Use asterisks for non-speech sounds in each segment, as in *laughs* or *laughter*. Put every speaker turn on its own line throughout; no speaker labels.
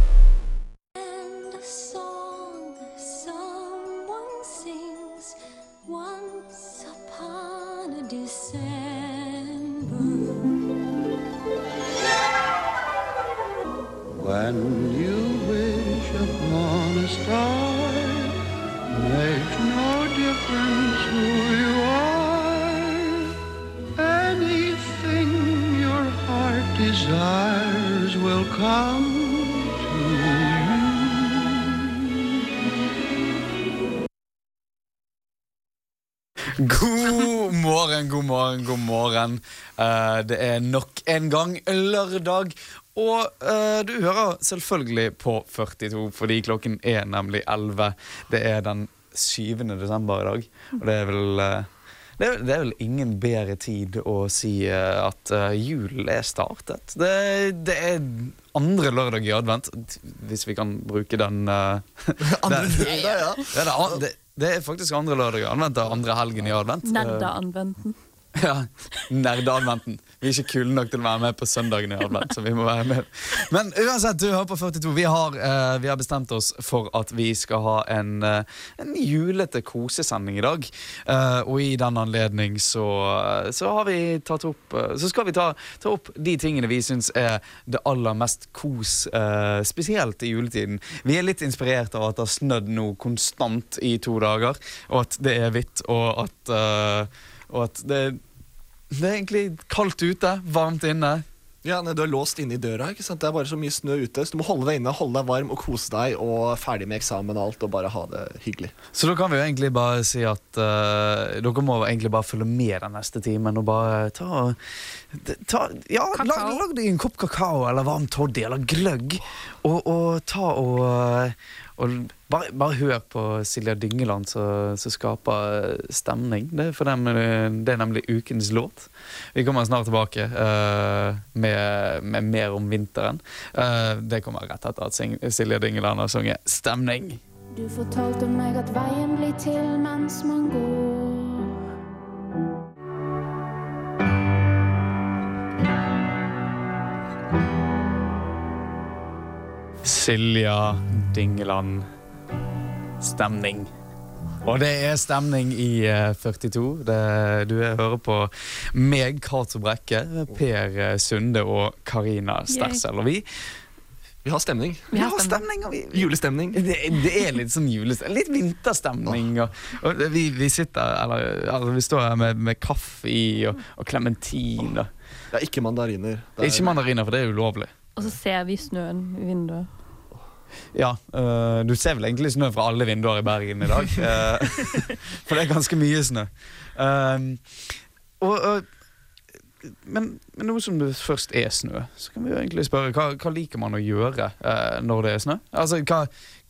And a song someone sings once upon a December.
When you wish upon a star, makes no difference who you are. Anything your heart desires will come to you.
God morgen, god morgen, god morgen. Eh, det er nok en gang lørdag. Og eh, du hører selvfølgelig på 42, fordi klokken er nemlig 11. Det er den 7. desember i dag, og det er vel eh, det er, det er vel ingen bedre tid å si eh, at eh, julen er startet. Det, det er andre lørdag i advent, hvis vi kan bruke den. eh, *laughs* den- det, er det, an- det, det er faktisk andre lørdag i advent. Det er andre helgen i advent.
Nerdeanvendten.
Eh, *laughs* Ja, Nerdeadventen. Vi er ikke kule nok til å være med på søndagen i advent. så vi må være med. Men uansett, du hører på 42. Vi har, eh, vi har bestemt oss for at vi skal ha en, eh, en julete kosesending i dag. Eh, og i den anledning så, så har vi tatt opp eh, Så skal vi ta, ta opp de tingene vi syns er det aller mest kos, eh, spesielt i juletiden. Vi er litt inspirert av at det har snødd nå konstant i to dager, og at det er hvitt, og at, eh, og at det, det er egentlig kaldt ute, varmt inne.
*laughs* Ja, nei, Du er låst inne i døra. ikke sant? Det er bare så mye snø ute. Så du må holde deg inne, holde deg varm og kose deg. Og ferdig med eksamen og alt, og bare ha det hyggelig.
Så da kan vi jo egentlig bare si at eh, dere må egentlig bare følge med den neste timen og bare ta, ta Ja, lag, lag deg en kopp kakao eller varm toddy eller gløgg, og, og ta og, eh, og bare, bare hør på Silja Dyngeland som som skaper stemning. Det er, for dem, eh, det er nemlig ukens låt. Vi kommer snart tilbake eh, med, med mer om vinteren. Eh, det kommer rett etter at Sing- Silja Dyngeland har sunget 'Stemning'.
Du fortalte meg at veien blir til mens man går.
Silja Dingeland. Stemning. Og det er stemning i eh, 42. Det, du er- hører på meg, Cato Brekke, Per eh, Sunde og Karina Stersel. Og vi,
Vi har stemning.
vi har stemning, og vi, vi
Julestemning.
det, det er litt sånn julestemning. Litt vinterstemning. Og, og vi, vi sitter eller, eller vi står her med, med kaffe i og klementin.
Ja, ikke mandariner. Det er-
Ikke mandariner, for det er ulovlig.
Og så ser vi snøen i vinduet.
Ja, øh, du ser vel egentlig snø fra alle vinduer i Bergen i dag. eh, for det er ganske mye snø. Um, og, og, men, men nå som det først er snø, så kan vi jo egentlig spørre hva, hva liker man å gjøre eh, når det er snø? Altså, hva,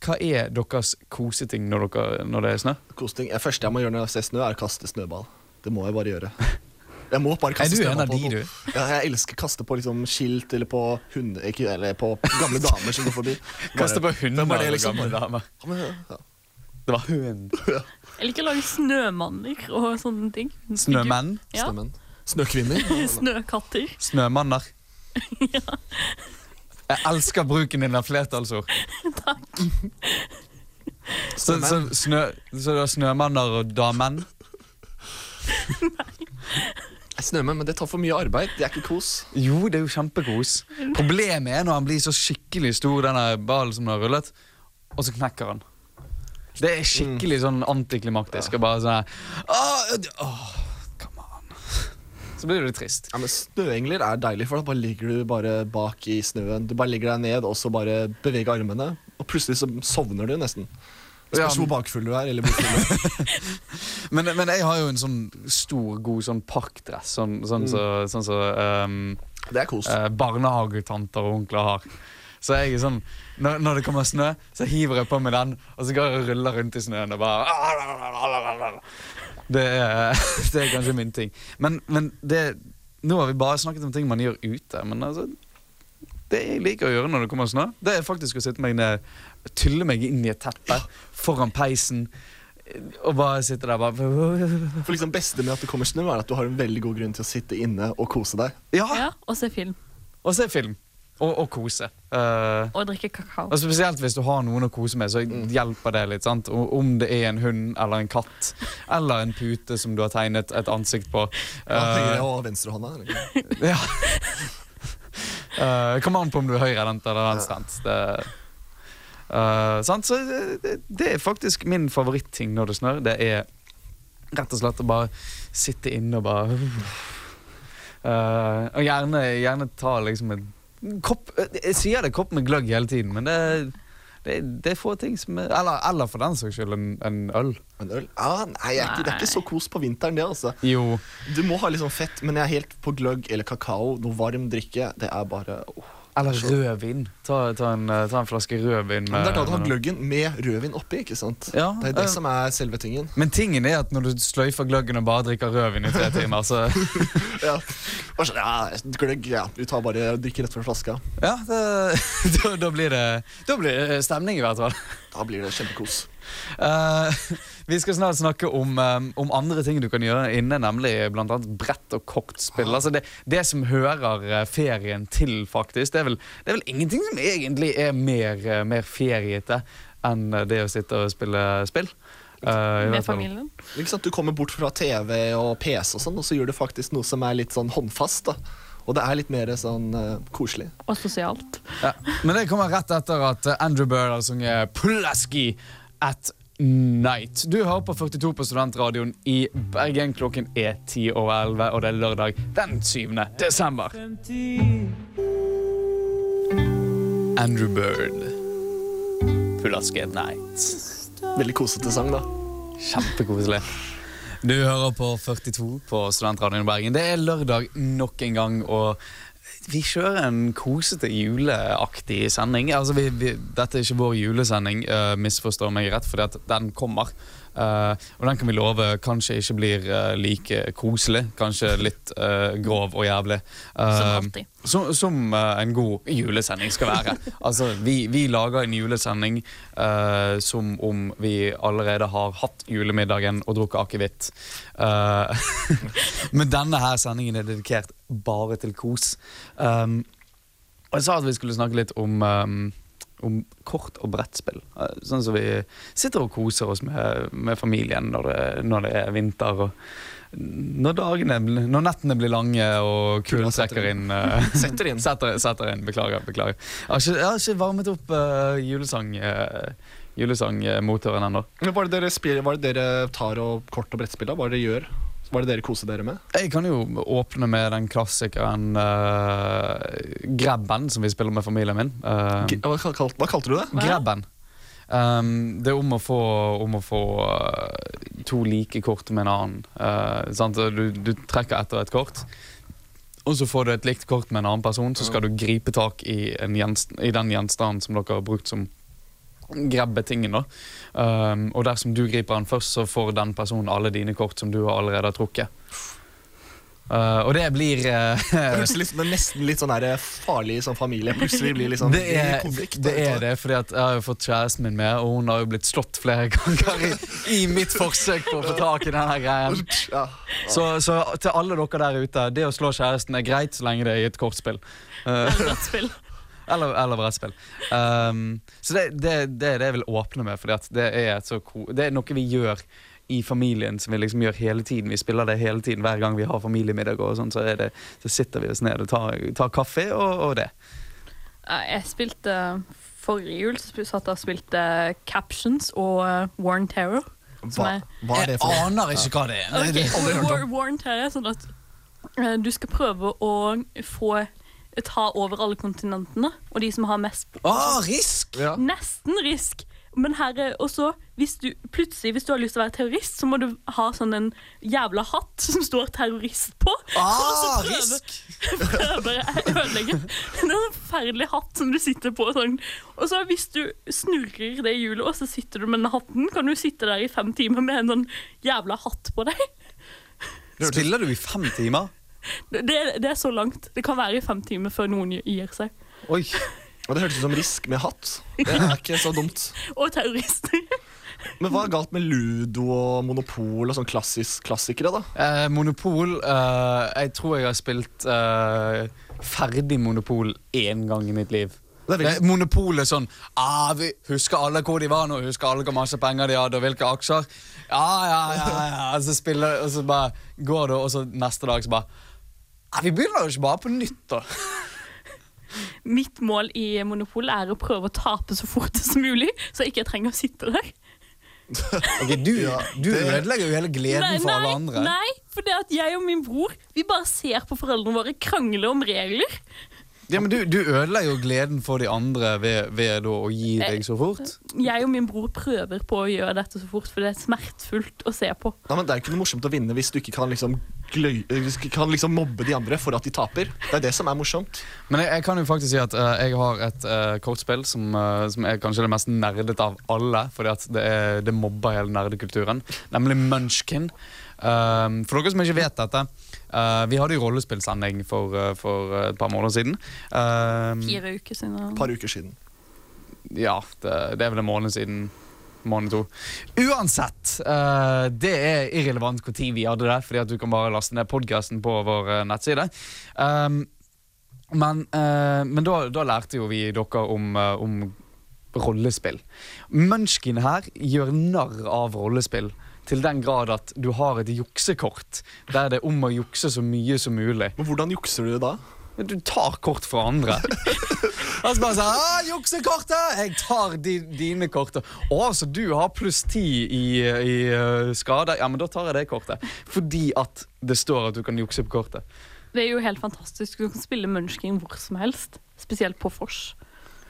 hva er deres koseting når, dere, når det er snø?
Kosting. Det første jeg må gjøre når jeg ser snø, er å kaste snøball. Det må jeg bare gjøre.
*laughs*
Jeg må bare
Er
kaste
du en
snøball
av
på
de,
noe.
du?
Ja, jeg elsker å kaste på liksom skilt eller på hunde... Ikke, eller på gamle damer som går forbi. Bare-
Kaste på hunder
Det var det,
og
liksom.
gamle damer.
Ja, men, ja.
Det var hund.
Jeg liker å lage snømanner og sånne ting.
Snømenn.
Ja.
Snømenn. Snøkvinner.
Snøkatter.
*laughs* Snømanner. Jeg elsker bruken din av flertallsord.
*laughs* Takk.
Så, så, snø, så det er snømanner og damenn?
Snømenn, men det tar for mye arbeid. Det er ikke kos.
Jo, det er jo kjempekos. Problemet er når han blir så skikkelig stor, denne ballen som har rullet, og så knekker han. Det er skikkelig sånn antiklimaktisk. Og bare sånn her «Åh, d- åh, Come on. Så blir det litt trist.
Ja, men Snøengler er deilig, for da bare ligger du bare bak i snøen. Du bare ligger deg ned og så bare beveger armene, og plutselig så sovner du nesten. Det
Ja,
spørs
men-
hvor bakfull du er. eller bortfull du er.
Men, men jeg har jo en sånn stor, god sånn parkdress, sånn som sånn, så, sånn, så, ehm,
*laughs* Det er kos.
eh, barnehagetanter og onkler har. Så jeg er sånn, når, når det kommer snø, så hiver jeg på meg den, og så går jeg og ruller rundt i snøen og bare *laughs* Det er, *laughs* det er kanskje min ting. Men, men det Nå har vi bare snakket om ting man gjør ute, men altså Det jeg liker å gjøre når det kommer snø, det er faktisk å sitte meg ned, tylle meg inn i et teppe foran peisen og bare sitte der bare *laughs*
For liksom beste med at det kommer snø, er at du har en veldig god grunn til å sitte inne og kose deg.
Ja!
Ja, og se film.
Og se film. Og, og kose. Eh,
Og drikke kakao.
Og Spesielt hvis du har noen å kose med, så hjelper det litt. sant? Og Om det er en hund eller en katt eller en pute som du har tegnet et ansikt på.
Ja,
Eh,
høyre og venstrehånda. eller?
ja. *laughs* Eh, Kommer an på om du er høyrehendt eller venstrehendt. Det, eh, sant? Så det, det er faktisk min favoritting når det snør. Det er rett og slett å bare sitte inne og bare Eh, Og gjerne, gjerne ta liksom en kopp Jeg sier det kopp med gløgg hele tiden, men det, det, det er få ting som er, eller, eller for den saks skyld en, en øl.
En øl? Ah, nei, jeg er ikke, Det er ikke så kos på vinteren, det. altså
Jo.
Du må ha litt sånn fett, men jeg er helt på gløgg eller kakao. Noe varm drikke. Det er bare åh.
Eller rødvin. Ta, ta, en, eh, ta en flaske rødvin.
Men Det er da du har
med-
gløggen med rødvin oppi. ikke sant?
Ja,
det er det
eh.
som er selve tingen.
Men tingen er at når du sløyfer gløggen og bare drikker rødvin i tre timer, så
Ja. Bare sånn, ja, gløgg, ja. Du tar bare drikker rett fra flaska.
Ja, det, da, *laughs* da, blir det, da blir det eh, stemning, i hvert fall. *laughs*
Da blir det kjempekos.
Eh, vi skal snart snakke om, eh, om andre ting du kan gjøre inne, nemlig blant annet brett og kortspill. Altså det, det som hører eh, ferien til, faktisk. Det er vel, det er vel ingenting som egentlig er mer, eh, mer feriete enn eh, det å sitte og spille spill. Eh, i hvert
Med
fall.
familien.
Ikke sant? Du kommer bort fra TV og PC, og sånn, og så gjør du faktisk noe som er litt sånn håndfast. da. Og det er litt mer sånn eh, koselig.
Og *laughs* sosialt.
Ja. Men det kommer rett etter at eh, Andrew Bird har sunget Pulaski at Night. Du hører på 42 på Studentradioen i Bergen. Klokken er ti over elleve, og det er lørdag den 7. desember. Andrew Bird. Pulaski at Night.
Veldig kosete sang, da.
Kjempekoselig. Du hører på 42 på Studentradioen i Bergen. Det er lørdag nok en gang, og vi kjører en kosete juleaktig sending. Altså, vi, vi, dette er ikke vår julesending, uh, misforstår meg rett, for den kommer. Eh, og den kan vi love kanskje ikke blir eh, like koselig. Kanskje litt eh, grov og jævlig. Eh,
Som alltid.
som, som eh, en god julesending skal være. Altså, vi, vi lager en julesending eh, som om vi allerede har hatt julemiddagen og drukket akevitt. Eh, *laughs* men denne her sendingen er dedikert bare til kos. Um, og jeg sa at vi skulle snakke litt om, um, om kort- og brettspill. Eh, Sånn som vi sitter og koser oss med, med familien når det, når det er vinter. og når, dagene, bl- når nettene blir lange og kulden trekker inn, eh,
*laughs* Setter inn.
setter, setter inn. Beklager. beklager Jeg har ikke, jeg har ikke varmet opp eh, julesang eh, julesangmotoren ennå.
Men Hva er det dere, spiller, hva er det dere tar og kort og brettspill? da? Hva er det dere gjør? Hva er det dere koser dere med?
Jeg kan jo åpne med den klassikeren uh, Grabben, som vi spiller med familien min. Eh,
G- Hva, kal- kal- hva kalte du det?
Hva?
Grabben. Um, det er om å få, om å få eh, to like kort med en annen. Eh, sant? Du, du trekker etter et kort, og så får du et likt kort med en annen person. Så skal du gripe tak i, en gjenst, i den gjenstanden som dere har brukt som grabbetingen. da. Um, og dersom du griper den først, så får den personen alle dine kort som du allerede har trukket. Eh, og det blir eh, *laughs*
Det høres litt, men nesten litt sånn der farlig sånn familie. Plutselig blir liksom
Det er,
konflikt.
det er det, fordi at jeg har jo fått kjæresten min med, og hun har jo blitt slått flere *laughs* ganger i, i mitt forsøk på å få tak i denne greien.
Ja.
Så, så til alle dere der ute, det å slå kjæresten er greit så lenge det er i et kortspill. Eh,
Brettspill.
eller eller brettspill. Um, så det, det, det er det jeg vil åpne med, fordi at det er, et så ko det er noe vi gjør i familien som vi liksom gjør hele tiden. Vi spiller det hele tiden hver gang vi har familiemiddag, og sånn, så, er det, så sitter vi oss ned og tar, tar kaffe og, og det.
*laughs* Ja, Jeg spilte Forrige jul så sp- satt jeg og spilte Captions og eh, Warren Terror. Som
Hva,
er-
hva er det for noe?
aner ikke hva det er.
Ok, War, Warren Terror er sånn at eh, du skal prøve å få eh, ta over alle kontinentene, og de som har mest
Ah, risk!
Ja.
Nesten risk. Men her er også hvis du, plutselig, hvis du har lyst til å være terrorist, så må du ha sånn en jævla hatt som står 'terrorist' på. *laughs* og så
Ah,
prøve-
risk!
*laughs* prøver jeg å ødelegge. Det er en forferdelig hatt som du sitter på. Sånn. Og så hvis du snurrer det hjulet, og så sitter du med den hatten, kan du sitte der i fem timer med en sånn jævla hatt på deg.
Spiller du i fem timer?
Det, det er så langt. Det kan være i fem timer før noen gir seg.
Oi.
Og Det hørtes ut som risk med hatt. Det er ikke så dumt.
Og terrorister. *laughs*
Men hva er galt med ludo og monopol og sånn klassisk klassikere, da?
Eh, Monopol eh, Jeg tror jeg har spilt eh, ferdig Monopol én gang i mitt liv.
Det er
Det,
veldig-
Monopol er sånn ah, vi Husker alle hvor de var nå? Husker alle hvor masse penger de hadde, og hvilke aksjer? Ja, ja, ja, ja. Og så spiller Og så bare går det, og så neste dag så bare «Ah, Vi begynner jo ikke bare på nytt, da.
Mitt mål i Monopol er å prøve å tape så fort som mulig, så jeg ikke trenger å sitte der.
Ok, du, du ødelegger jo hele gleden for alle andre.
nei, for det at jeg og min bror Vi bare ser på foreldrene våre krangle om regler.
Ja, men du, du ødelegger jo gleden for de andre ved, ved da, å gi
Eh,
deg så fort.
Jeg og min bror prøver på å gjøre dette så fort, for det er smertefullt å se på.
Nei, men Det er ikke noe morsomt å vinne hvis du ikke kan liksom, gløy, hvis du ikke kan liksom mobbe de andre for at de taper. Det er det som er morsomt.
Men jeg, jeg kan jo faktisk si at eh, jeg har et eh, kortspill som, eh, som er kanskje det mest nerdet av alle, fordi at det, er, det mobber hele nerdekulturen, nemlig Munchkin. Um, for dere som ikke vet dette, eh, vi hadde jo rollespillsending for, eh, for eh, et par måneder siden. Um,
Fire uker siden.
Et par uker siden.
ja, det, det er vel en måned siden. Måned to. Uansett, eh, det er irrelevant hvor tid vi hadde det, fordi at du kan bare laste ned podkasten på vår eh, nettside. Um, men eh, men da, da lærte jo vi dere om, eh, om rollespill. Munchkin her gjør narr av rollespill. Til den grad at du har et juksekort der det er om å jukse så mye som mulig.
Men hvordan jukser du da?
Du tar kort fra andre. Og så bare sånn «Ah, 'Juksekortet! Jeg tar di, dine kort.' 'Å, så du har pluss ti i, i eh, skade?' Ja, men da tar jeg det kortet. Fordi at det står at du kan jukse på kortet.
Det er jo helt fantastisk. Du kan spille Munchkin hvor som helst. Spesielt på vors.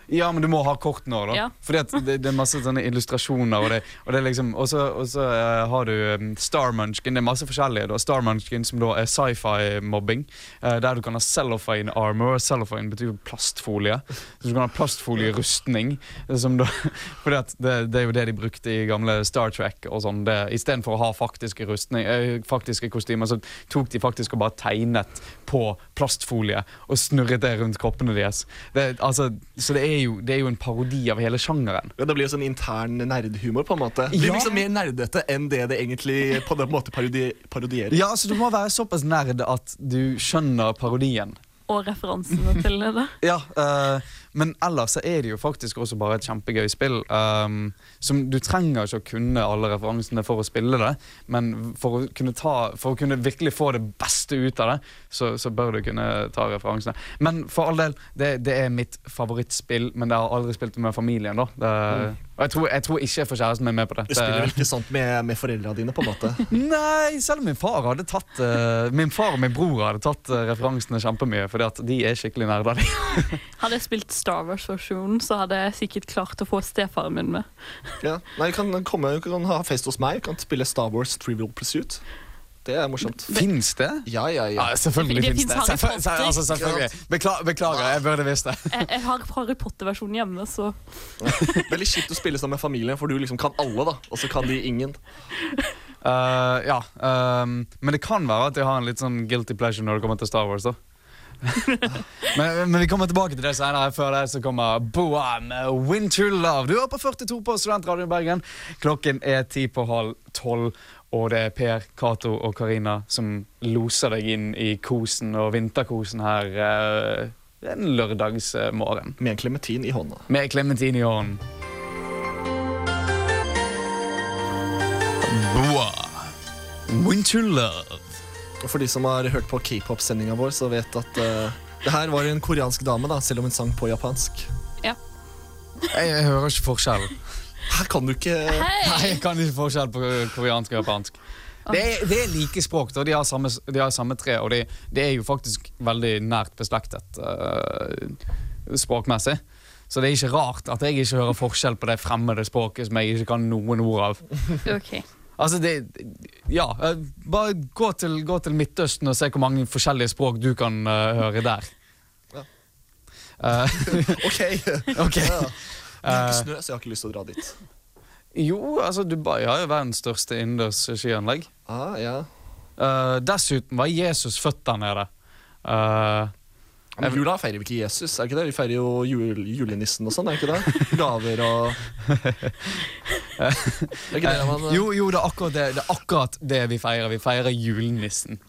Ja, men du må ha kort nå, da.
Ja.
Fordi at det, det er masse sånne illustrasjoner. Og det, og det er liksom, og så, og så eh, har du um, Star Munchkin. Det er masse forskjellige. da. Star Munchkin, som da er sci-fi-mobbing. eh, der du kan ha cellophane armor. Cellophane betyr jo plastfolie. Så du kan ha plastfolierustning. eh, Som da, *laughs* fordi at det, det er jo det de brukte i gamle Star Trek. og sånn. Det- Istedenfor å ha faktiske, rustning, eh, faktiske kostymer, så tok de faktisk og bare tegnet på plastfolie og snurret det rundt kroppene deres. Det, altså, så det er, jo, det er jo en parodi av hele sjangeren.
Ja, det blir jo sånn intern nerdhumor, på en måte. Det
Ja.
blir liksom mer nerdete enn det det egentlig på den måte parodi parodierer.
Ja, så Du må være såpass nerd at du skjønner parodien.
Og referansene til det.
Ja, eh, Men ellers så er det jo faktisk også bare et kjempegøy spill. ehm, som Du trenger ikke å kunne alle referansene for å spille det, men for å kunne, ta, for å kunne virkelig få det beste ut av det, så, så bør du kunne ta referansene. Men for all del, det, det er mitt favorittspill, men det har jeg aldri spilt med familien. da det, Og jeg tror, jeg tror ikke jeg får kjæresten min med på det.
Du spiller vel ikke sånt med, med foreldra dine, på en måte.
Nei, selv om min far hadde tatt eh, Min far og min bror hadde tatt eh, referansene kjempemye, fordi at de er skikkelig nerder. de.
Hadde jeg spilt Star Wars-versjonen, så hadde jeg sikkert klart å få stefaren min med.
Ja. Nei, du kan komme du kan ha fest hos meg, du kan spille Star Wars Trivial Pursuit. Det er morsomt.
Fins det?
Ja, ja, ja.
Ja, selvfølgelig
Det
finnes det.
finnes Harry
Selvfø-
Potter.
altså, selvfølgelig. Beklager, beklager, jeg burde
*laughs*
visst det.
Jeg, jeg har Harry Potter-versjonen hjemme, så
Veldig kjipt å spille sammen med familien, for du liksom kan alle, da. Og så kan de ingen.
Eh, ja, ehm, Men det kan være at jeg har en litt sånn guilty pleasure når det kommer til Star
*laughs*
Wars. da men, men vi kommer tilbake til det senere. Før det så kommer Boa med Winter Love. Du er på 42 på Studentradioen i Bergen. Klokken er ti på halv tolv, og det er Per, Cato og Karina som loser deg inn i kosen og vinterkosen her eh, en lørdagsmorgen.
Med en klementin i hånda.
Med Clementine i hånden. Boa. Winter love.
Og for de som har hørt på k-pop-sendinga vår, så vet at eh, det her var en koreansk dame, da, selv om hun sang på japansk.
Jeg, jeg hører ikke forskjell.
Her kan du ikke
Nei, jeg kan ikke forskjell på koreansk og japansk. Det er, det er like språk, og de har samme, s- de har samme tre, og det det er jo faktisk veldig nært beslektet eh, språkmessig. Så det er ikke rart at jeg ikke hører forskjell på det fremmede språket som jeg ikke kan noen ord av.
*laughs* OK.
Altså, det Ja. eh, Bare gå til, gå til Midtøsten og se hvor mange forskjellige språk du kan eh, høre der.
Ja.
Eh, *laughs*
*laughs*
OK!
ok.
Ja. Det er
Eh.
ikke snø, så jeg har ikke lyst til å dra dit.
Jo, altså, Dubai har jo verdens største innendørs skianlegg.
Ah, ja.
Eh, dessuten var Jesus født der nede. Eh,
Men jula feirer vi ikke Jesus, er det ikke det? Vi feirer jo jul, julenissen og sånn, er det ikke det? Gaver og Er ikke det man
Eh, Jo, jo det, er akkurat det, det er akkurat det vi feirer. Vi feirer julenissen.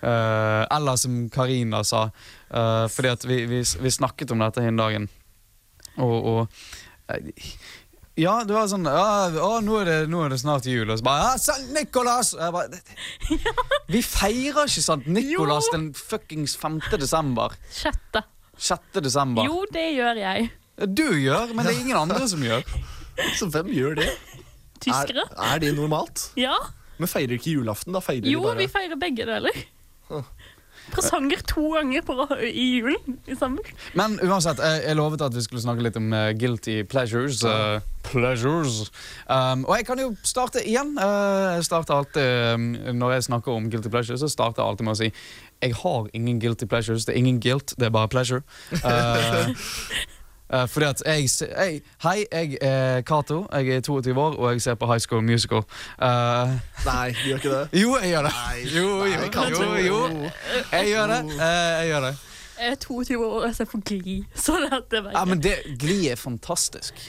Eh, eller som Karina sa, eh, fordi at vi, vi, vi snakket om dette den dagen. Og, og eh, Ja, det var sånn ja, å, nå, er det, 'Nå er det snart jul', og så bare ja, 'Sankt Nikolas!' Og jeg bare, det- det- Vi feirer ikke Sankt Nikolas
Jo.
den fuckings 5. desember.
Sjette.
6. desember.
Jo, det gjør jeg.
Du gjør, men det er ingen andre som gjør.
Så hvem gjør det? Er,
Tyskere.
er det normalt?
Ja.
Men feirer ikke julaften, da feirer
Jo,
vi bare
vi feirer begge deler. Presanger to ganger på, ra- i julen i sommer.
Men uansett, jeg, jeg lovet at vi skulle snakke litt om eh, guilty pleasures. eh, pleasures. Um, og jeg kan jo starte igjen. Eh, jeg starter alltid, um, når jeg snakker om guilty pleasures, så starter jeg alltid med å si jeg har ingen guilty pleasures. Det er ingen guilt, det er bare pleasure. Eh, *laughs* eh, fordi at jeg, se- jeg Hei, jeg er Cato. Jeg er 22 år, og jeg ser på High School Musical. Eh,
Nei, vi gjør ikke det.
jo, jeg gjør det. *laughs* Jo, jo, jo, jo. Jeg gjør det. Eh, jeg gjør det.
Jeg er 22 år og jeg ser på Gli. Så det at det er
Ja,
verre.
men det, Gli er fantastisk.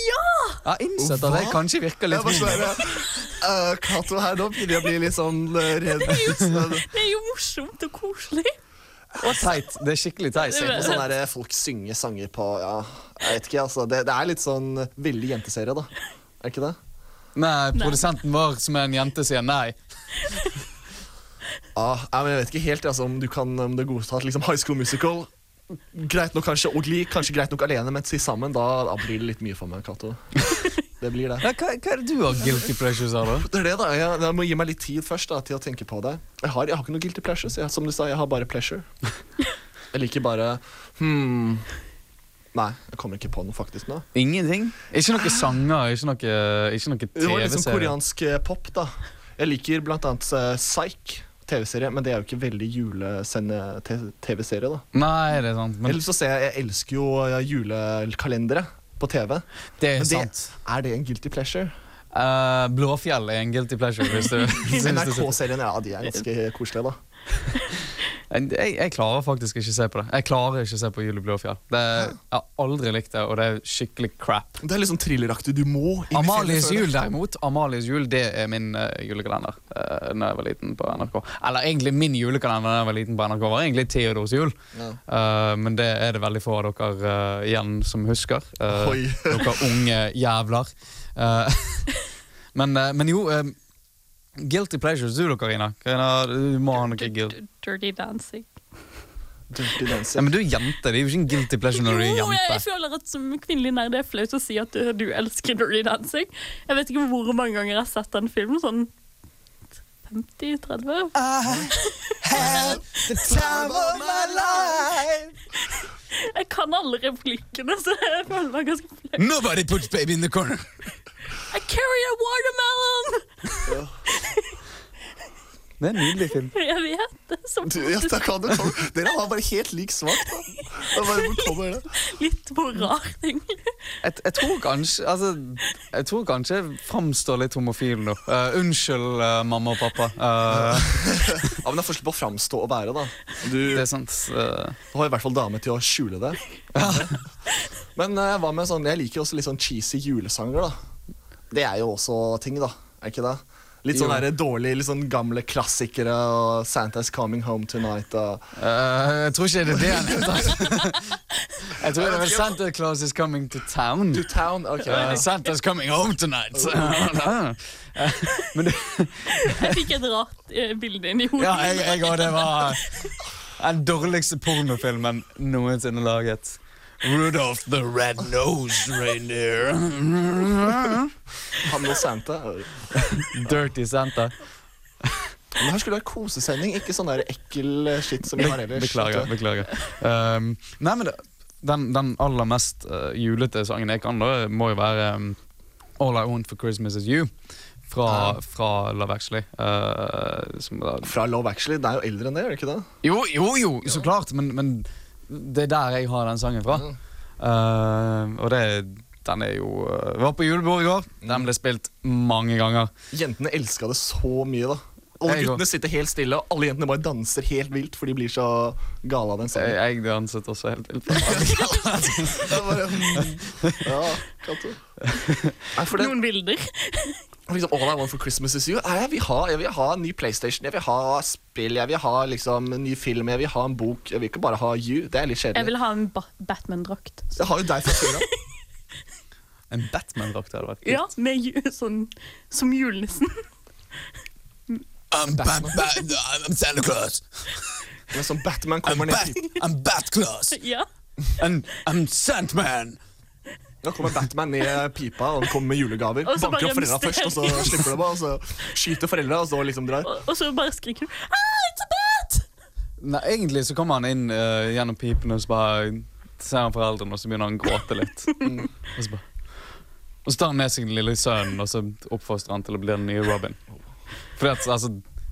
Ja! Jeg har innsett at
Hva?
jeg kanskje virker
Jeg
litt
bare
vild. *laughs*
sånn eh, Cato her, nå begynner jeg å bli litt sånn eh, redd. Sånn
Det er jo morsomt og koselig.
Og teit. Det er skikkelig teit.
Det er-
der eh, folk synger sanger på Ja, jeg vet ikke, altså. Det, det er litt sånn veldig jenteserie, da. Er ikke det?
Nei, produsenten vår som er en jente, sier nei.
Ah, Ja, nei, men Jeg vet ikke helt altså, om du kan om det er godtatt liksom, High School Musical. Greit nok kanskje, og Glee, kanskje greit nok alene, men til sammen da, da blir det litt mye for meg. Kato. Det blir det.
Ja, hva, hva er det du har guilty pleasures av, da?
Det er det da, jeg, jeg må gi meg litt tid først da, til å tenke på det. Jeg har, jeg har ikke noe guilty pleasures. Jeg, som du sa, jeg har bare *laughs* pleasure. Jeg liker bare hmm. Nei, jeg kommer ikke på noe faktisk nå.
Ingenting? Ikke noen sanger, ikke noe, ikke noe
Det var liksom
TV-serie.
koreansk eh, pop, da. Jeg liker blant annet eh, Psyche. TV-serie, Men det er jo ikke veldig julesende-TV-serie. da
Nei, det er sant. Men
Ellers så ser jeg, jeg elsker jo eh, julekalendere på TV.
det er
Men det,
sant.
er det en guilty *laughs* pleasure?
Eh, Blåfjell er en guilty pleasure, hvis
*laughs*
du synes det.
NRK-serien, ja, de er ganske koselige, da.
Jeg, jeg klarer faktisk ikke se på det. Jeg klarer ikke se på Julie Blåfjell. Det, jeg har aldri likt det, og det er skikkelig crap.
Det er litt sånn thrilleraktig. Du må inn i
Amalies
fjellet før
jul,
det.
derimot. Amalies jul, Det er min eh, julekalender uh, Når jeg var liten på NRK. Eller egentlig min julekalender da jeg var liten på NRK, var egentlig Theodors jul. Eh, men det er det veldig få av dere eh, igjen som husker. Eh, *laughs*
Oi.
dere unge jævler. Eh, *laughs* men, eh, men jo eh, Guilty pleasures, du da, Karina. Karina, Du må ha noe guilt.
Dirty dancing.
Dirty
Ja,
Dancing.
men du er jente. Det er jo ikke en guilty pleasure når du er
Jo, jeg
jente.
føler at som kvinnelig nerd det er flaut å si at du, du elsker Dirty Dancing. Jeg vet ikke hvor mange ganger jeg har sett den filmen. Sånn 50-30? Jeg kan alle replikkene, så jeg føler meg ganske flau.
Nobody puts baby in the corner.
I carry a watermelon!
Det er en nydelig film.
Jeg vet det. er Så
Du, ja, da kan du komme. Dere har bare helt lik smak. da. Det er bare, hvor kommer det?
litt for rart, egentlig.
jeg, jeg tror kanskje altså, Jeg tror kanskje jeg framstår litt homofil nå. Eh, unnskyld, eh, mamma og pappa. Eh,
Ja, men Det er forskjell på å framstå og være. da Du
det er sant. eh.
har i hvert fall dame til å skjule det. Men eh, hva med sånn, jeg liker også litt sånn cheesy julesanger. da Det er jo også ting, da. Er ikke det? Litt sånn
Jo.
der, dårlig, litt sånn gamle klassikere og 'Santa's Coming Home Tonight'. Og
Eh, jeg tror ikke det er det han heter. jeg tror det er vel Santa Claus is coming to town.
To Town. ok
Eh, Santa's coming home tonight. Eh, *laughs* Men det,
Jeg fikk et rart eh, bilde inn i hodet.
ja, jeg, jeg og det var den dårligste pornofilmen noensinne laget. Rudolph the Red-Nosed Reindeer.
Han og Santa. Men
Dirty Santa.
her skulle det være kosesending, ikke sånn der ekkel eh, shit som vi har
Be
ellers.
beklager. beklager. Um, nei, men det, den, den aller mest eh, julete sangen jeg kan, da, må jo være um, All I Want for Christmas Is You. Fra, fra Love Actually. eh, som da,
Fra Love Actually. Det er jo eldre enn det, gjør det ikke det?
jo, jo, jo, så klart! Men, men det er der jeg har den sangen fra. Eh, og det, den er jo Mm. eh, Var på julebord i går. Den ble spilt mange ganger.
Jentene elska det så mye, da. Alle
Jeg går.
guttene sitter helt stille, og alle jentene bare danser helt vilt, for de blir så gale av den
Jeg,
sangen.
jeg danset også helt vilt. *laughs*
Det er bare, mm, ja, kan du? Nei, for det,
Noen bilder.
liksom, All I want for Christmas is you. Nei, jeg, vil ha, jeg vil ha en ny PlayStation, jeg vil ha spill, jeg vil ha liksom, en ny film, jeg vil ha en bok. Jeg vil ikke bare ha you. Det er
Jeg
litt kjedelig.
vil ha en ba Batman-drakt.
Jeg har jo deg fra før av.
En Batman-drakt hadde vært
Ja, med ju sånn som julenissen.
I'm, Batman, I'm Santa Claus.
Men som
*laughs*
Batman kommer ned pipen.
I'm Bat-Claus.
Ja.
And I'm Sandman.
Nå kommer Batman ned pipa og han kommer med julegaver.
Og så
Banker
bare
opp foreldra først, og
mysterium.
så slipper de bare. Og så skyter foreldra, og så liksom
*laughs*
drar.
Og, og så bare skriker du ah, it's a bat!
Nei, egentlig så kommer han inn eh, gjennom pipen og så bare ser han foreldrene, og så begynner han å gråte
*laughs*
litt. Og så bare Og så tar han med seg den lille sønnen og så oppfostrer han til å bli den nye Robin. Fordi at, altså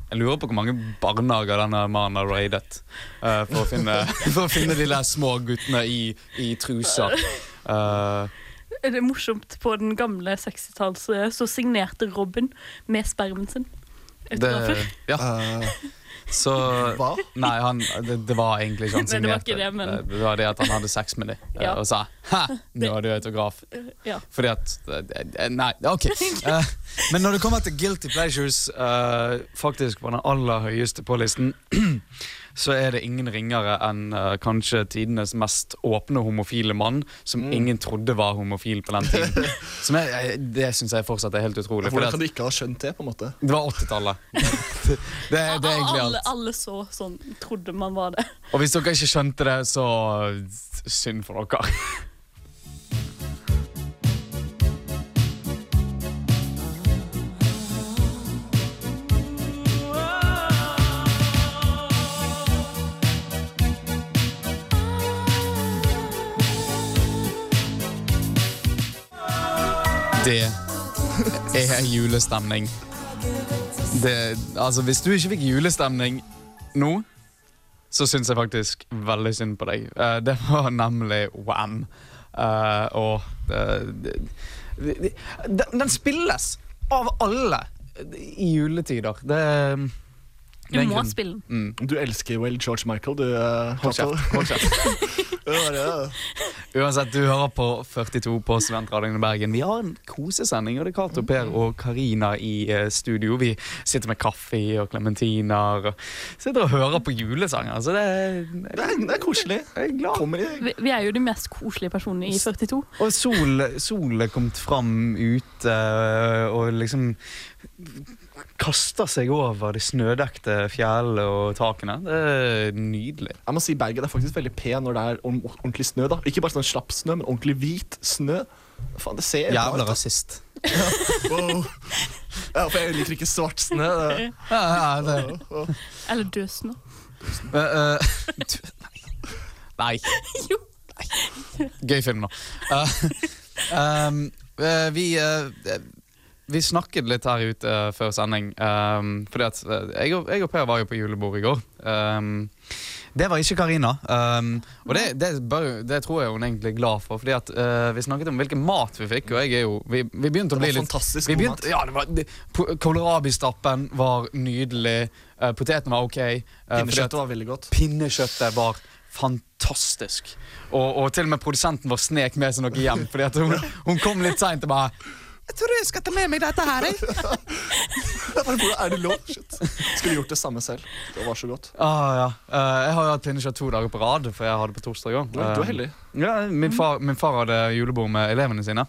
jeg lurer på hvor mange barnehager denne mannen har raidet eh, for, å finne, *laughs* for å finne de der små guttene i, i truser. Eh,
Er Det er morsomt. På den gamle 60-tallet så signerte Robin med spermen sin.
det,
Autografer.
ja,
Eh,
så
hva?
Nei, han, det, det var egentlig ikke han
Nei, det var
signerte.
ikke det, *laughs* men-
Eh, det var det at han hadde sex med dem eh,
Ja.
og sa 'ha, nå har du autograf'.
Ja.
Fordi at eh, Nei,
*laughs*
ok. Eh, men når det kommer til guilty pleasures, eh, faktisk på den aller høyeste på listen, *clears throat* så er det ingen ringere enn eh, kanskje tidenes mest åpne homofile mann, som
Mm.
ingen trodde var homofil på den
*laughs*
tiden. Som jeg, jeg, det syns jeg fortsatt er helt utrolig.
Hvordan kan
Fordi
du
at
ikke ha skjønt det? på en måte?
det var 80-tallet. *laughs* Det, det er egentlig
alle,
alt.
alle så sånn, trodde man var *laughs* det.
Og hvis dere ikke skjønte det, så synd for dere. Det er julestemning. Det, altså, hvis du ikke fikk julestemning nå, så syns jeg faktisk veldig synd på deg. Eh, det var nemlig Wham. Eh, og eh, det- det- det- den, den spilles av alle i juletider. Det, det
Du må spille den.
Du elsker jo vel George Michael, du. eh,
Hold
Cato.
kjeft. Hold kjeft.
Det var det.
Uansett, du hører på 42 på Studentradioen i Bergen. Vi har en kosesending, og det er Cato, Per og Karina i eh, studio. Vi sitter med kaffe og klementiner og sitter og hører på julesanger. Så det er,
Det er, det er koselig.
jeg er glad.
Kommer i
Vi, vi er jo de mest koselige personene i 42.
Og sol, solen er kommet fram ute og liksom kaster seg over de snødekte fjellene og takene. Det er nydelig.
Jeg må si Bergen er faktisk veldig pen når det er ord- ordentlig snø. da Ikke bare sånn slapp snø, men ordentlig hvit snø. Faen, det ser
Jævla
bra ut.
rasist.
Wow. Ja, for jeg liker ikke svart snø. det.
Ja, ja, det. *laughs*
Eller døsende.
Eh, eh, *laughs* du- Nei.
*laughs* Jo.
Nei. Gøy film nå. Eh, *laughs* um, eh, vi, eh, eh, vi snakket litt her ute eh, før sending. Um, fordi at eh, jeg, og- jeg og Per var jo på julebord i går. Um, det var ikke Karina. Um, og det, det, bør, det tror jeg hun egentlig er glad for. Fordi at eh, vi snakket om hvilken mat vi fikk, og jeg er jo Vi, vi begynte å
Det
bli
var
litt
fantastisk
vi
god
begynte,
mat.
ja, det var, det, po- Kålrabistappen var nydelig. Uh, poteten var ok. eh, fordi at-
Pinnekjøttet var *laughs* veldig godt.
Pinnekjøttet var fantastisk. Og, og til og med produsenten vår snek med seg noe hjem, fordi at hun, hun kom litt seint og bare jeg tror jeg skal ta med meg dette her. jeg».
Jeg bare, Hvordan er det lov? *laughs* Shit. Skulle gjort det samme selv. Det var så godt.
Ah, ja. Eh, jeg har jo hatt pinnekjøtt to dager på rad, for jeg hadde på torsdag Eh, òg.
Du er heldig.
Ja, min, far, min far hadde julebord med elevene sine.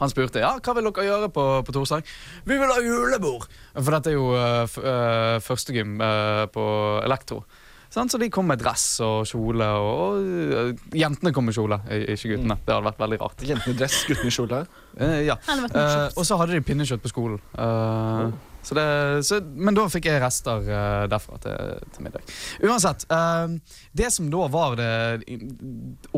Han spurte ja, hva vil dere gjøre på, på torsdag. Vi vil ha julebord! For dette er jo eh, f eh, førstegym eh, på elektro. Sant? Så de kom med dress og kjole. Og, og eh, jentene kom med kjole, i- ikke guttene. Det hadde vært veldig rart.
Jentene i dress, guttene i kjole.
Eh, ja.
Eller vært
Eh,
morsomt.
og så hadde de pinnekjøtt på skolen. Eh, så det, så, men da fikk jeg rester eh, derfra til, til middag. Uansett. eh, det som da var det i-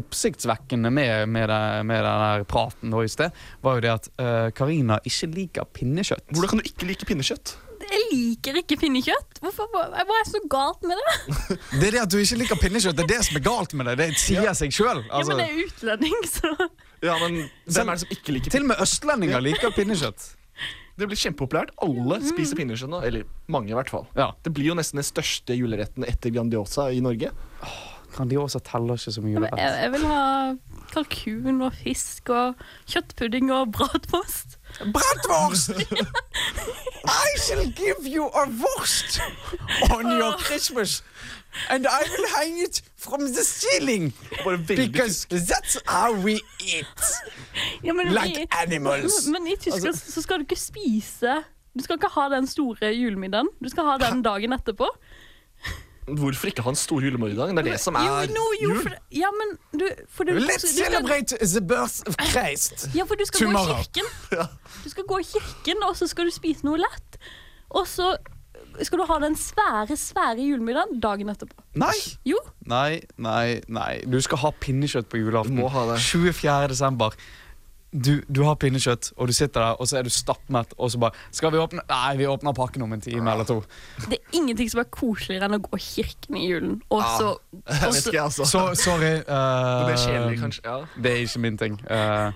oppsiktsvekkende med, med, det, med den der praten nå i sted, var jo det at eh, Karina ikke liker pinnekjøtt.
Hvordan kan du ikke like pinnekjøtt?
Jeg liker ikke pinnekjøtt. Hvorfor, hva hva er det så galt med det?
Det er det at du ikke liker pinnekjøtt, det er det som er galt med det. Det sier seg sjøl.
ja,
Altså,
men jeg er utlending, så
Ja, men Hvem er det som ikke liker
til og med østlendinger liker pinnekjøtt.
Det blir kjempepopulært. Alle spiser pinnekjøtt nå. Eller mange, i hvert fall.
Ja.
Det blir jo nesten den største juleretten etter Grandiosa i Norge.
Grandiosa teller ikke som
Jeg,
julerett.
jeg vil ha kalkun og fisk og kjøttpudding og bratwurst.
Bratwurst! I shall give you a wurst on your Christmas. And I will hang it from the ceiling.
Bare veldig
Because that's how we eat.
Ja, men
Like
i-
animals.
Men i
Altså-
Tyskland så skal du ikke spise Du skal ikke ha den store julemiddagen. Du skal ha den dagen etterpå.
Hvorfor ikke ha en stor julemorgendag? Det er det som
Jo,
er
no, jo, for, ja, men du, for du, du
Let's
skal,
celebrate the birth of Christ.
ja, for du skal gå i
tomorrow. *laughs*
kirken. Du skal gå i kirken, og så skal du spise noe lett. Og så skal du ha den svære, svære julemiddagen dagen etterpå.
Nei.
Jo,
Nei, nei, nei. Du skal ha pinnekjøtt på julaften.
Du må ha det.
24. desember. Du, du har pinnekjøtt, og du sitter der, og så er du stappmett, og så bare Skal vi åpne Nei, vi åpner pakken om en time eller *laughs* to.
det er ingenting som er koseligere enn å gå i kirken i julen. Og
Ah.
Ja,
så
Jeg vet ikke, altså.
Så sorry. eh,
det blir kjedelig, kanskje. Ja.
Det er ikke min ting. Eh,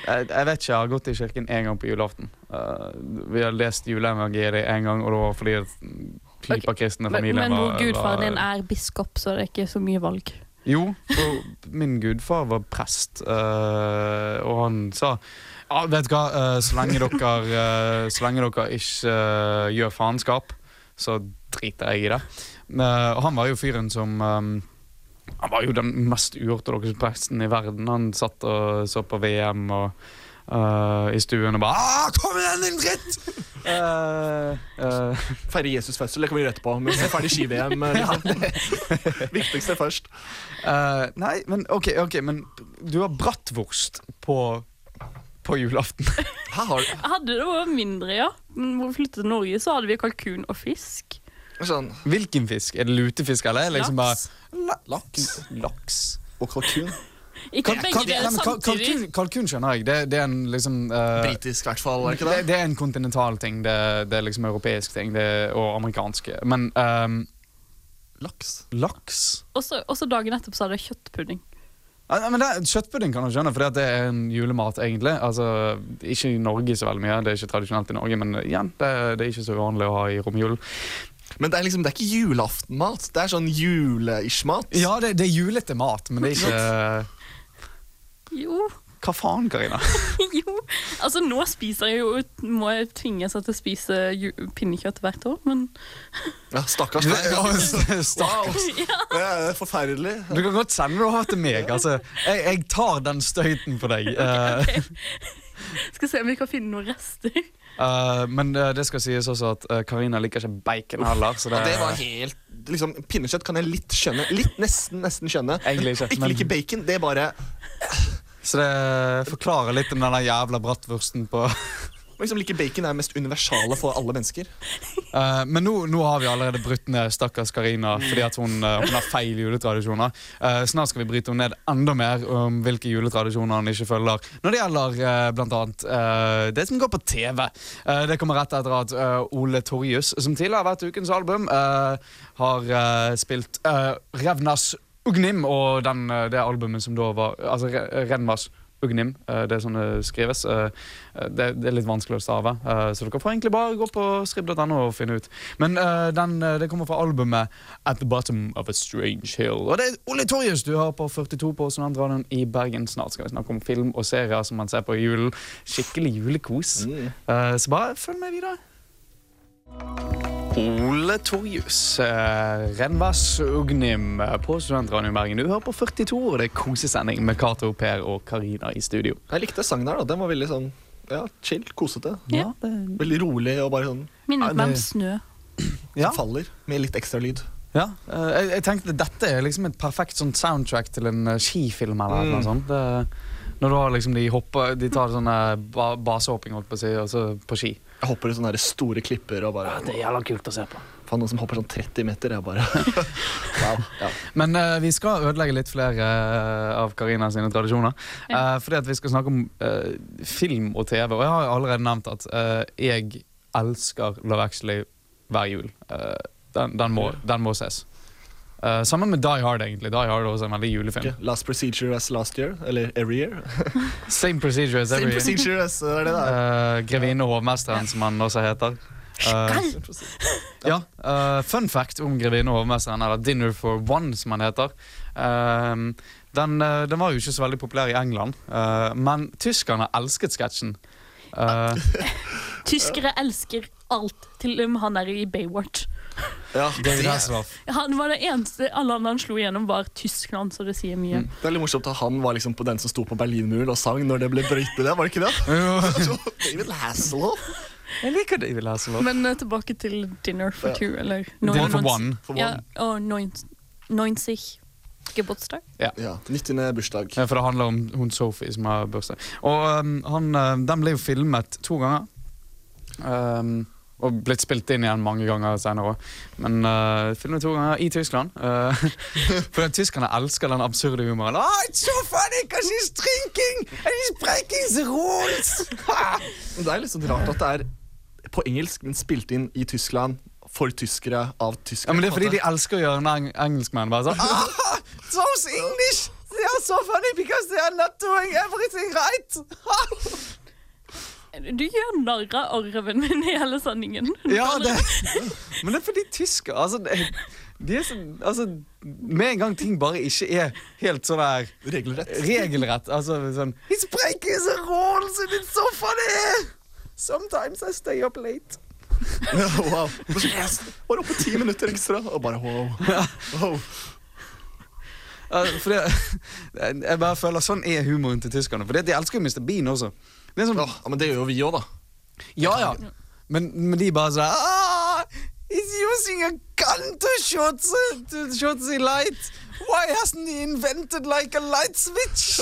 jeg, jeg vet ikke, jeg har gått i kirken én gang på julaften. Eh, vi har lest juleevangeliet én gang, og det var fordi at pipakristne
Men,
familien
men
var
hvor gudfaren
var-
din er biskop, så det er ikke så mye valg.
Jo, for min gudfar var prest, eh, og han sa Ja, vet du hva, eh, så lenge dere, eh, så lenge dere ikke eh, gjør faenskap, så driter jeg i det. Eh, og han var jo fyren som eh, Han var jo den mest uortodokse presten i verden. Han satt og så på VM og eh, i stuen og bare «Ah, Kom igjen, din dritt! Eh, eh,
Feire Jesus fødsel, det kan vi gjøre etterpå. Men vi er ferdig *laughs* ski-VM. Liksom. Viktigste først.
Eh, nei, men ok, ok, men du har bratwurst på, på julaften. *laughs*
Her har du
Hadde det vært mindre, ja. Men Hvor vi flyttet til Norge, så hadde vi kalkun og fisk.
sånn
Hvilken fisk? Er det lutefisk, eller? er det Liksom bare,
Laks.
laks. Laks.
Og kalkun.
Ikke
Kal-
begge
kal- nei,
deler
men kal-
samtidig.
kalkun, kalkun skjønner jeg. Det, det er en liksom eh,
Britisk, i hvert fall. Er det ikke
det,
det?
det er en kontinental ting. Det, det er liksom europeisk ting det, og amerikansk. Men ehm,
Laks.
laks
Også, også dagen etterpå så hadde jeg kjøttpudding.
Ja, nei, men det, er- Kjøttpudding kan du skjønne, for det er en julemat, egentlig. Altså, Ikke i Norge så veldig mye, det er ikke tradisjonelt i Norge, men igjen, det, det er ikke så uvanlig å ha i romjulen.
Men det er liksom, det er ikke julaftenmat. Det er sånn jule-ish-mat.
Ja, det, det er julete mat, men det er ikke
Jo, *laughs*
Hva faen, Karina? *laughs*
jo. Altså, nå spiser jeg jo Må jeg tvinge seg til å spise ju- pinnekjøtt hvert år, men
Ja, stakkars deg.
Stakkars.
Det er forferdelig.
Du kan godt sende det over til meg. Altså, jeg, jeg tar den støyten på *laughs* deg. Eh,
skal se om vi kan finne noen rester.
eh, men eh, det skal sies også at eh, Karina liker ikke bacon heller. Så det,
Ja, det var helt liksom, Pinnekjøtt kan jeg litt skjønne. Litt Nesten nesten skjønne.
Egentlig ikke,
Ikke
men-
like bacon. Det er bare
så det forklarer litt om den der jævla bratwursten på
liksom, Like bacon er mest universale for alle mennesker.
Eh, Men nå, nå har vi allerede brutt ned stakkars Karina fordi at hun, eh, hun har feil juletradisjoner. Eh, snart skal vi bryte henne ned enda mer om hvilke juletradisjoner hun ikke følger. Når det gjelder eh, blant annet eh, det som går på TV. Eh, det kommer rett etter at eh, Ole Torjus, som tidligere har vært ukens album, eh, har eh, spilt eh, Revnas Ugnim og den, eh, det albumet som da var Altså Re- Revnas Ugnim, eh, det er sånn det skrives. Eh, Det, det er litt vanskelig å stave, eh, så dere får egentlig bare gå på scribb.no og finne ut. Men eh, den, eh, det kommer fra albumet At the Bottom of a Strange Hill. Og det er Ole Torjus du hører på 42 på Studentradioen i Bergen. Snart skal vi snakke om film og serier som man ser på i julen. Skikkelig julekos. Eh, Så bare følg med videre. Ole Torjus, eh, Renvas Ugnim eh, på Studentradioen i Bergen. Du hører på 42, og det er kosesending med Cato, Per og Karina i studio.
Jeg likte sangen her. da Den var veldig sånn ja, chill, kosete.
Ja.
Veldig rolig og bare sånn
Minnet
Ja,
meg
det-
om snø.
Ja.
faller. Med litt ekstra lyd.
Ja, eh, jeg, jeg tenkte dette er liksom et perfekt sånn soundtrack til en eh, skifilm eller noe sånt. Det, når du har liksom de hopper, de tar sånn eh, ba, basehopping holdt på å si, og så på ski.
Jeg hopper i sånne her store klipper og bare
Det er jævla kult å se på.
Faen, noen som hopper sånn 30 meter. Jeg bare Wow. Ja.
Men eh, vi skal ødelegge litt flere eh, av Karina sine tradisjoner. Eh, fordi at vi skal snakke om eh, film og TV. Og jeg har jo allerede nevnt at eh, jeg elsker Love Actually hver jul. Eh, den, den, må, den må ses. Eh, sammen med Die Hard, egentlig. Die Hard er også en veldig julefilm.
Ok, Last procedure as last year. Eller every year.
Same procedure as
Same
every
procedure as det er det det er.
Eh, Grevinne og hovmesteren, som han også heter. Eh,
Same procedure.
ja, eh, fun fact om Grevinne og hovmesteren, eller Dinner for One, som han heter. Eh, den, eh, den var jo ikke så veldig populær i England, eh, men tyskerne elsket sketsjen. Eh,
Tyskere elsker alt, til og med han der i Baywatch.
Ja, det, altså.
David
det
Hasselhoff.
Han var det eneste alle andre han slo igjennom, var Tyskland, så det sier mye.
er litt morsomt at han var liksom på den som sto på Berlinmuren og sang når det ble brytet der, var det ikke det? Altså, David Hasselhoff.
Jeg liker David Hasselhoff.
Men eh, tilbake til Dinner for
Ja.
two, eller
Dinner for
99.
One.
For
Ja,
one.
og 90 Geburtstag.
Ja, 90. bursdag.
Ja, Eh, For det handler om hun Sophie som har bursdag. Og um, han, um, den ble jo filmet to ganger. Um, og blitt spilt inn igjen mange ganger senere òg. Men uh, filmet to ganger i Tyskland. Uh, *laughs* for at tyskerne elsker den absurde humoren. Ah, it's so funny, 'cause he's drinking and he's breaking the rules! *laughs*
Men det er litt sånn rart at det er på engelsk, men spilt inn i Tyskland for tyskere av tyskere.
ja, men Det er fordi de elsker å gjøre en eng engelskmenn. Bare sånn ah, Those English! They are so funny because they are not doing everything right! *laughs*
Du gjør narr av arven min i hele sendingen.
*laughs* Ja, det, *laughs* men det er fordi tyskere altså, det- de er så, altså, Med en gang ting bare ikke er helt sånn der
*laughs* Regelrett.
regelrett altså, sånn, It's breaking the rules and it's so funny! Sometimes I stay up late.
wow. Yes. Var oppe ti minutter ekstra, og bare wow. wow.
Uh, for det, jeg bare føler Sånn er humoren til tyskerne. For det, de elsker jo Mr. Bean også. Det er sånn,
Ja, men det gjør jo vi òg, da.
ja, ja. Men, men de bare sånn ah, He's using a gun to shoot the, to shoot the light. Why hasn't he invented like a light switch?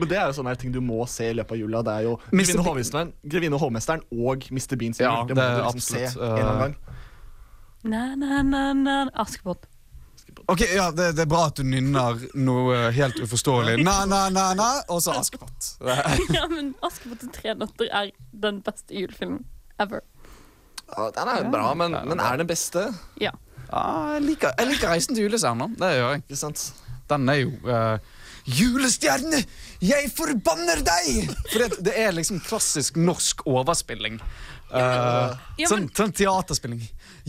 Men det er jo sånne her ting du må se i løpet av jula. Det er jo
Mr.
Grevinne
Bean.
og hovmesteren, Grevinne og hovmesteren og Mr. Beans jul.
Ja,
det må
det er
du liksom
absolutt,
se en eller annen gang.
Na, na, na, na. Askepott.
*laughs*
*laughs*
Ok, ja, det, det er bra at du nynner noe helt *laughs* uforståelig. Na, na, na, na, og så Askepott. *laughs*
Ja, men Askepott og tre nøtter er den beste julefilmen ever.
Ja, den er bra, men, men er den beste?
Ja.
Ah, jeg, liker, jeg liker Reisen til julestjernen. Det gjør jeg.
Ikke sant?
Den er jo eh, Julestjerne, jeg forbanner deg! For det, det er liksom klassisk norsk overspilling. Eh,
Ja,
sånn,
men-
sånn teaterspilling.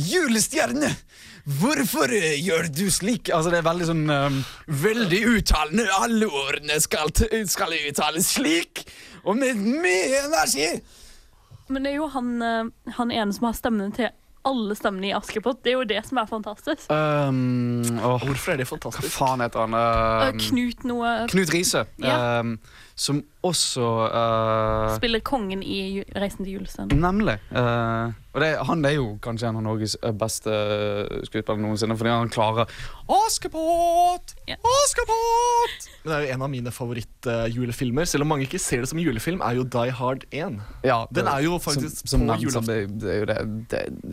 Julestjerne, hvorfor eh, gjør du slik? Altså, det er veldig sånn eh, Veldig uttalende. Alle ordene skal, t- skal uttales slik, og med mye energi.
Men det er jo han, eh, han ene som har stemmen til alle stemmene i Askepott. Det er jo det som er fantastisk.
Eh,
Um, åh,
Hvorfor er det
hva
fantastisk?
faen heter han?
Eh,
Um,
Knut noe
Knut Riise.
Ja.
Um, som også uh,
spiller kongen i ju- Reisen til julestjernen.
Nemlig. Uh, og det, han er jo kanskje en av Norges eh, beste eh, skuespillere noensinne, fordi han klarer Askepott!
Ja.
Askepott!
Men det er jo en av mine favorittjulefilmer. Selv om mange ikke ser det som en julefilm, er jo Die Hard 1.
Ja,
Den er jo faktisk
som, som
på
nevnt, så
julaften.
Det, det er jo det,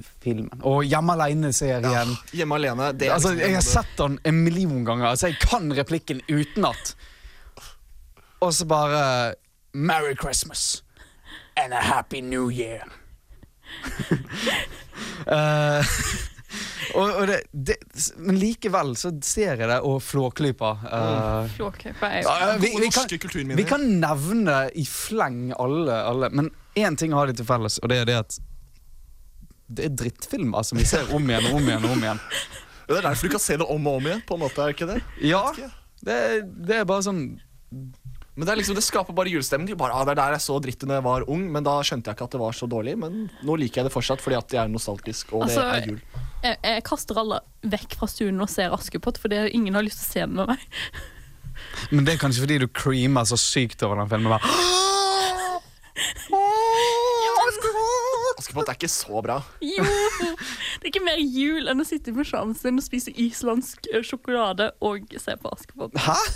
det filmen. Og Hjemme aleine-serien.
Ja, hjemme alene. Det er
Altså,
liksom det
jeg har
man-
sett den en million ganger, så jeg kan replikken utenat. Og så bare Merry Christmas and a happy new year. *laughs* Eh, og, og det, det, men likevel så ser jeg det og flåklypa. eh,
Flåklypa er jo
ja, ja, vi,
Gode
vi, kan,
norske kulturminner.
vi kan nevne i fleng alle, alle men én ting har de til felles, og det er det at det er drittfilm, altså. Vi ser om igjen og om igjen og om igjen.
Det er derfor du kan se det om og om igjen. på en måte, er det ikke det?
Ja,
ikke.
det, det er bare sånn
Men Det er liksom, det skaper bare julestemning. Du Bare, ah, det er der jeg så drittet når jeg var ung, men da skjønte jeg ikke at det var så dårlig. Men nå liker jeg det fortsatt fordi at jeg er nostalgisk, og
Altså,
det er jul.
jeg, jeg kaster alle vekk fra stuen og ser Askepott, fordi ingen har lyst til å se den med meg. *laughs*
Men det er kanskje fordi du creamer så sykt over den filmen. Bare,
Askepott er ikke så bra.
Jo! Det er ikke mer jul enn å sitte i pysjamen sin og spise islandsk eh, sjokolade og se på Askepott.
Hæ?
*laughs*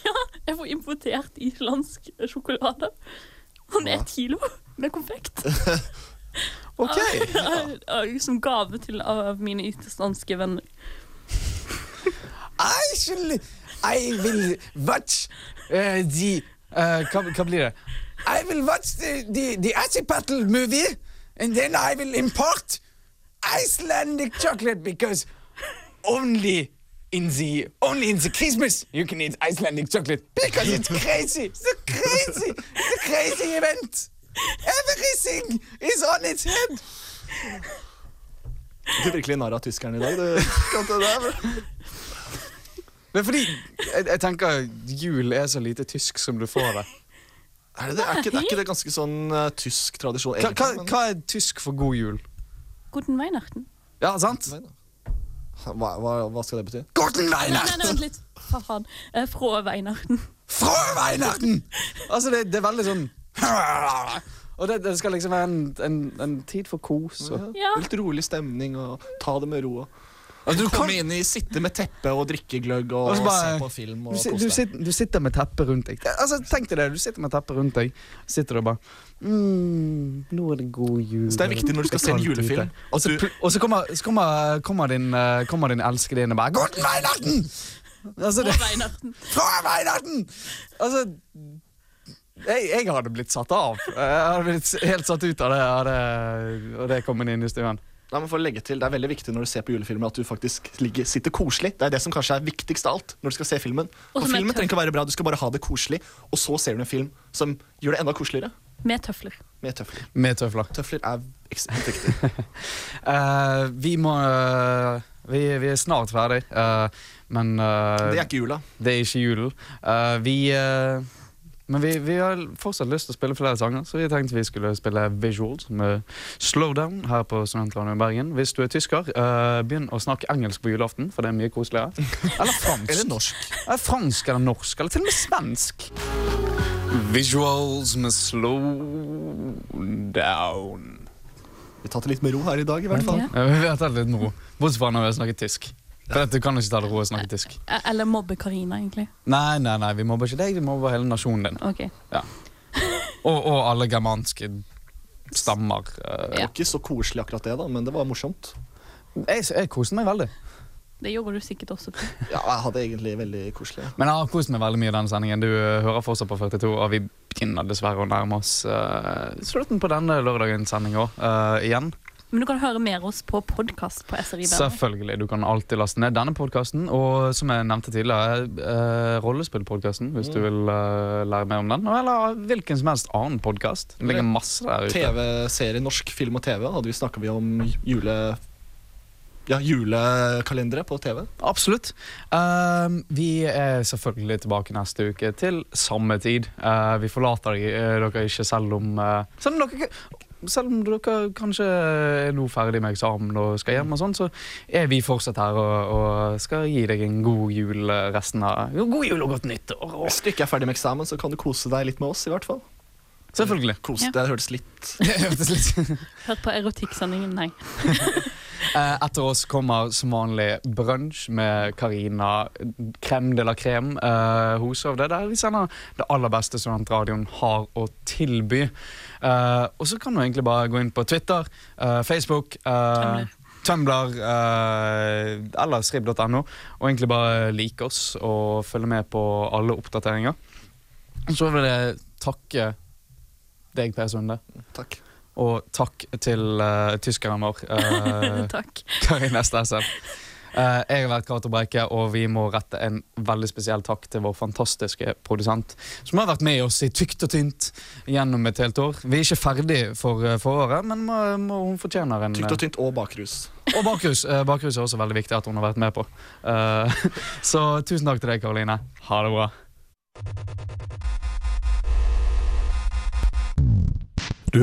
Ja, jeg får importert islandsk eh, sjokolade. Sånn ett kilo med konfekt.
*laughs*
Ok.
Eh, eh, Som gave til av mine islandske venner.
I shall I will watch eh, the eh, hva, hva blir det? I will watch the, the, the Asipattle movie, and then I will import Icelandic chocolate because only in the only in the Christmas you can eat Icelandic chocolate because it's crazy. It's a crazy, it's a crazy event. Everything is on its head.
Du er virkelig narr av tyskerne i dag. Du. Kan ikke det der?
Men fordi jeg, jeg tenker jul er så lite tysk som du får det.
Er, det det? er, ikke, er ikke det ganske sånn eh, tysk tradisjon?
Hva, hva,
egentlig, men-
hva er tysk for god jul?
Guten Weihnachten.
Ja, sant?
Hva, hva, hva skal det bety?
Guten
Nei, nei, nei, vent litt. Hva faen? Eh, Fra Weihnachten.
Frohe Weihnachten! Altså, det, det er veldig sånn Og det, det skal liksom være en, en, en tid for kos. Og.
Ja.
Litt rolig stemning og ta det med ro. og-
Altså, du,
Komme
kan,
inn i, sitte med teppe og drikke gløgg og,
Og så bare-
se på film og
du, si-
kose
du,
deg.
sitter, du sitter med teppet rundt deg. Altså, Tenk deg det. Du sitter med teppet rundt deg, sitter og bare mm, Nå er det god jul.
Så det er viktig når du skal
Det
se en
er kaldt ute.
julefilm.
Og så, pl- og så kommer, så kommer, kommer din, eh, kommer din elskede inn og bare Guten Weihnachten! Altså,
Fra
det,
Weihnachten.
Fra Weihnachten! Altså jeg, jeg hadde blitt satt av. Jeg hadde blitt helt satt ut av det, av det og det kom inn i stuen.
Nei, men for å legge til, Det er veldig viktig når du ser på julefilmer at du faktisk ligger, sitter koselig. Det er det som kanskje er viktigst av alt. når du skal se filmen.
Og
For
som er
filmen
tøff.
trenger ikke å være bra, du skal bare ha det koselig. Og så ser du en film som gjør det enda koseligere.
Med tøfler.
Med tøfler.
Med tøfler.
Tøfler er ekstremt viktig.
Eh, vi må eh, vi, vi er snart ferdig, eh, men eh,
Det er ikke jula.
det er ikke julen. Eh, vi eh, men vi, vi har fortsatt lyst til å spille flere sanger, så vi tenkte vi skulle spille Visuals med Slowdown her på Studentlandet i Bergen. Hvis du er tysker, eh, begynn å snakke engelsk på julaften, for det er mye
*laughs*
koseligere. Eller fransk.
Eller norsk.
Er fransk eller norsk, eller til og med svensk. Visuals med slow down.
Vi tar det litt med ro her i dag, i hvert fall.
Ja.
Vi har tatt litt med ro. Bortsett fra når vi har snakket tysk. For at du kan ikke ta det ro og snakke tysk.
Eh, Eller mobbe Karina, egentlig.
Nei, nei, nei, vi mobber ikke deg, vi mobber hele nasjonen din.
Ok.
Og, og alle germanske stammer. eh.
Ja.
Ikke så koselig akkurat det, da, men det var morsomt.
Jeg, jeg koser meg veldig.
Det gjorde du sikkert også. Til.
Ja, jeg hadde egentlig veldig koselig. ja.
Men jeg har kost meg veldig mye i denne sendingen. Du eh, hører fortsatt på 42, og vi begynner dessverre å nærme oss eh, slutten på denne lørdagens sending òg, igjen.
Men du kan høre mer oss på podkast på SRI-bandet.
Selvfølgelig. Du kan alltid laste ned denne podkasten. Og som jeg nevnte tidligere, eh, rollespillpodkasten, hvis du vil eh, lære mer om den. Eller hvilken som helst annen podkast. Det ligger masse der ute.
TV-serie, norsk film og TV, hadde vi snakka vi om jule... Ja, julekalendere på TV.
Absolutt. Ehm, vi er selvfølgelig tilbake neste uke til samme tid. Eh, vi forlater dere, eh, dere ikke selv om eh, Selv om dere ikke- selv om dere kanskje er nå ferdig med eksamen og skal hjem, og sånn, så er vi fortsatt her og, og skal gi deg en god jul eh, resten av God jul og godt nyttår! Og
Hvis du ikke er ferdig med eksamen, så kan du kose deg litt med oss, i hvert fall.
*laughs* Selvfølgelig.
Kose,
Ja.
Det hørtes litt
Hør på erotikksendingen, nei.
Eh, Etter oss kommer som vanlig brunsj med Karina Krem de la Krem. eh, Hose av det der vi sender det aller beste studentradioen har å tilby. Eh, og så kan du egentlig bare gå inn på Twitter, eh, Facebook, eh, Tumblr eh, eller srib.no, og egentlig bare like oss og følge med på alle oppdateringer. Og så vil jeg takke deg, Per Sunde,
Takk.
og takk til eh, tyskeren vår.
*laughs*
eh,
*laughs*
Takk.
Karina Stessen. Eh, jeg har vært Cato Breike, og vi må rette en veldig spesiell takk til vår fantastiske produsent, som har vært med oss i tykt og tynt gjennom et helt år. Vi er ikke ferdig for eh, foråret, men må, må, hun fortjener en
Tykt og tynt og bakrus.
eh, og bakrus. Eh, bakrus er også veldig viktig at hun har vært med på. Eh, *laughs* så tusen takk til deg, Karoline. Ha det bra.
Du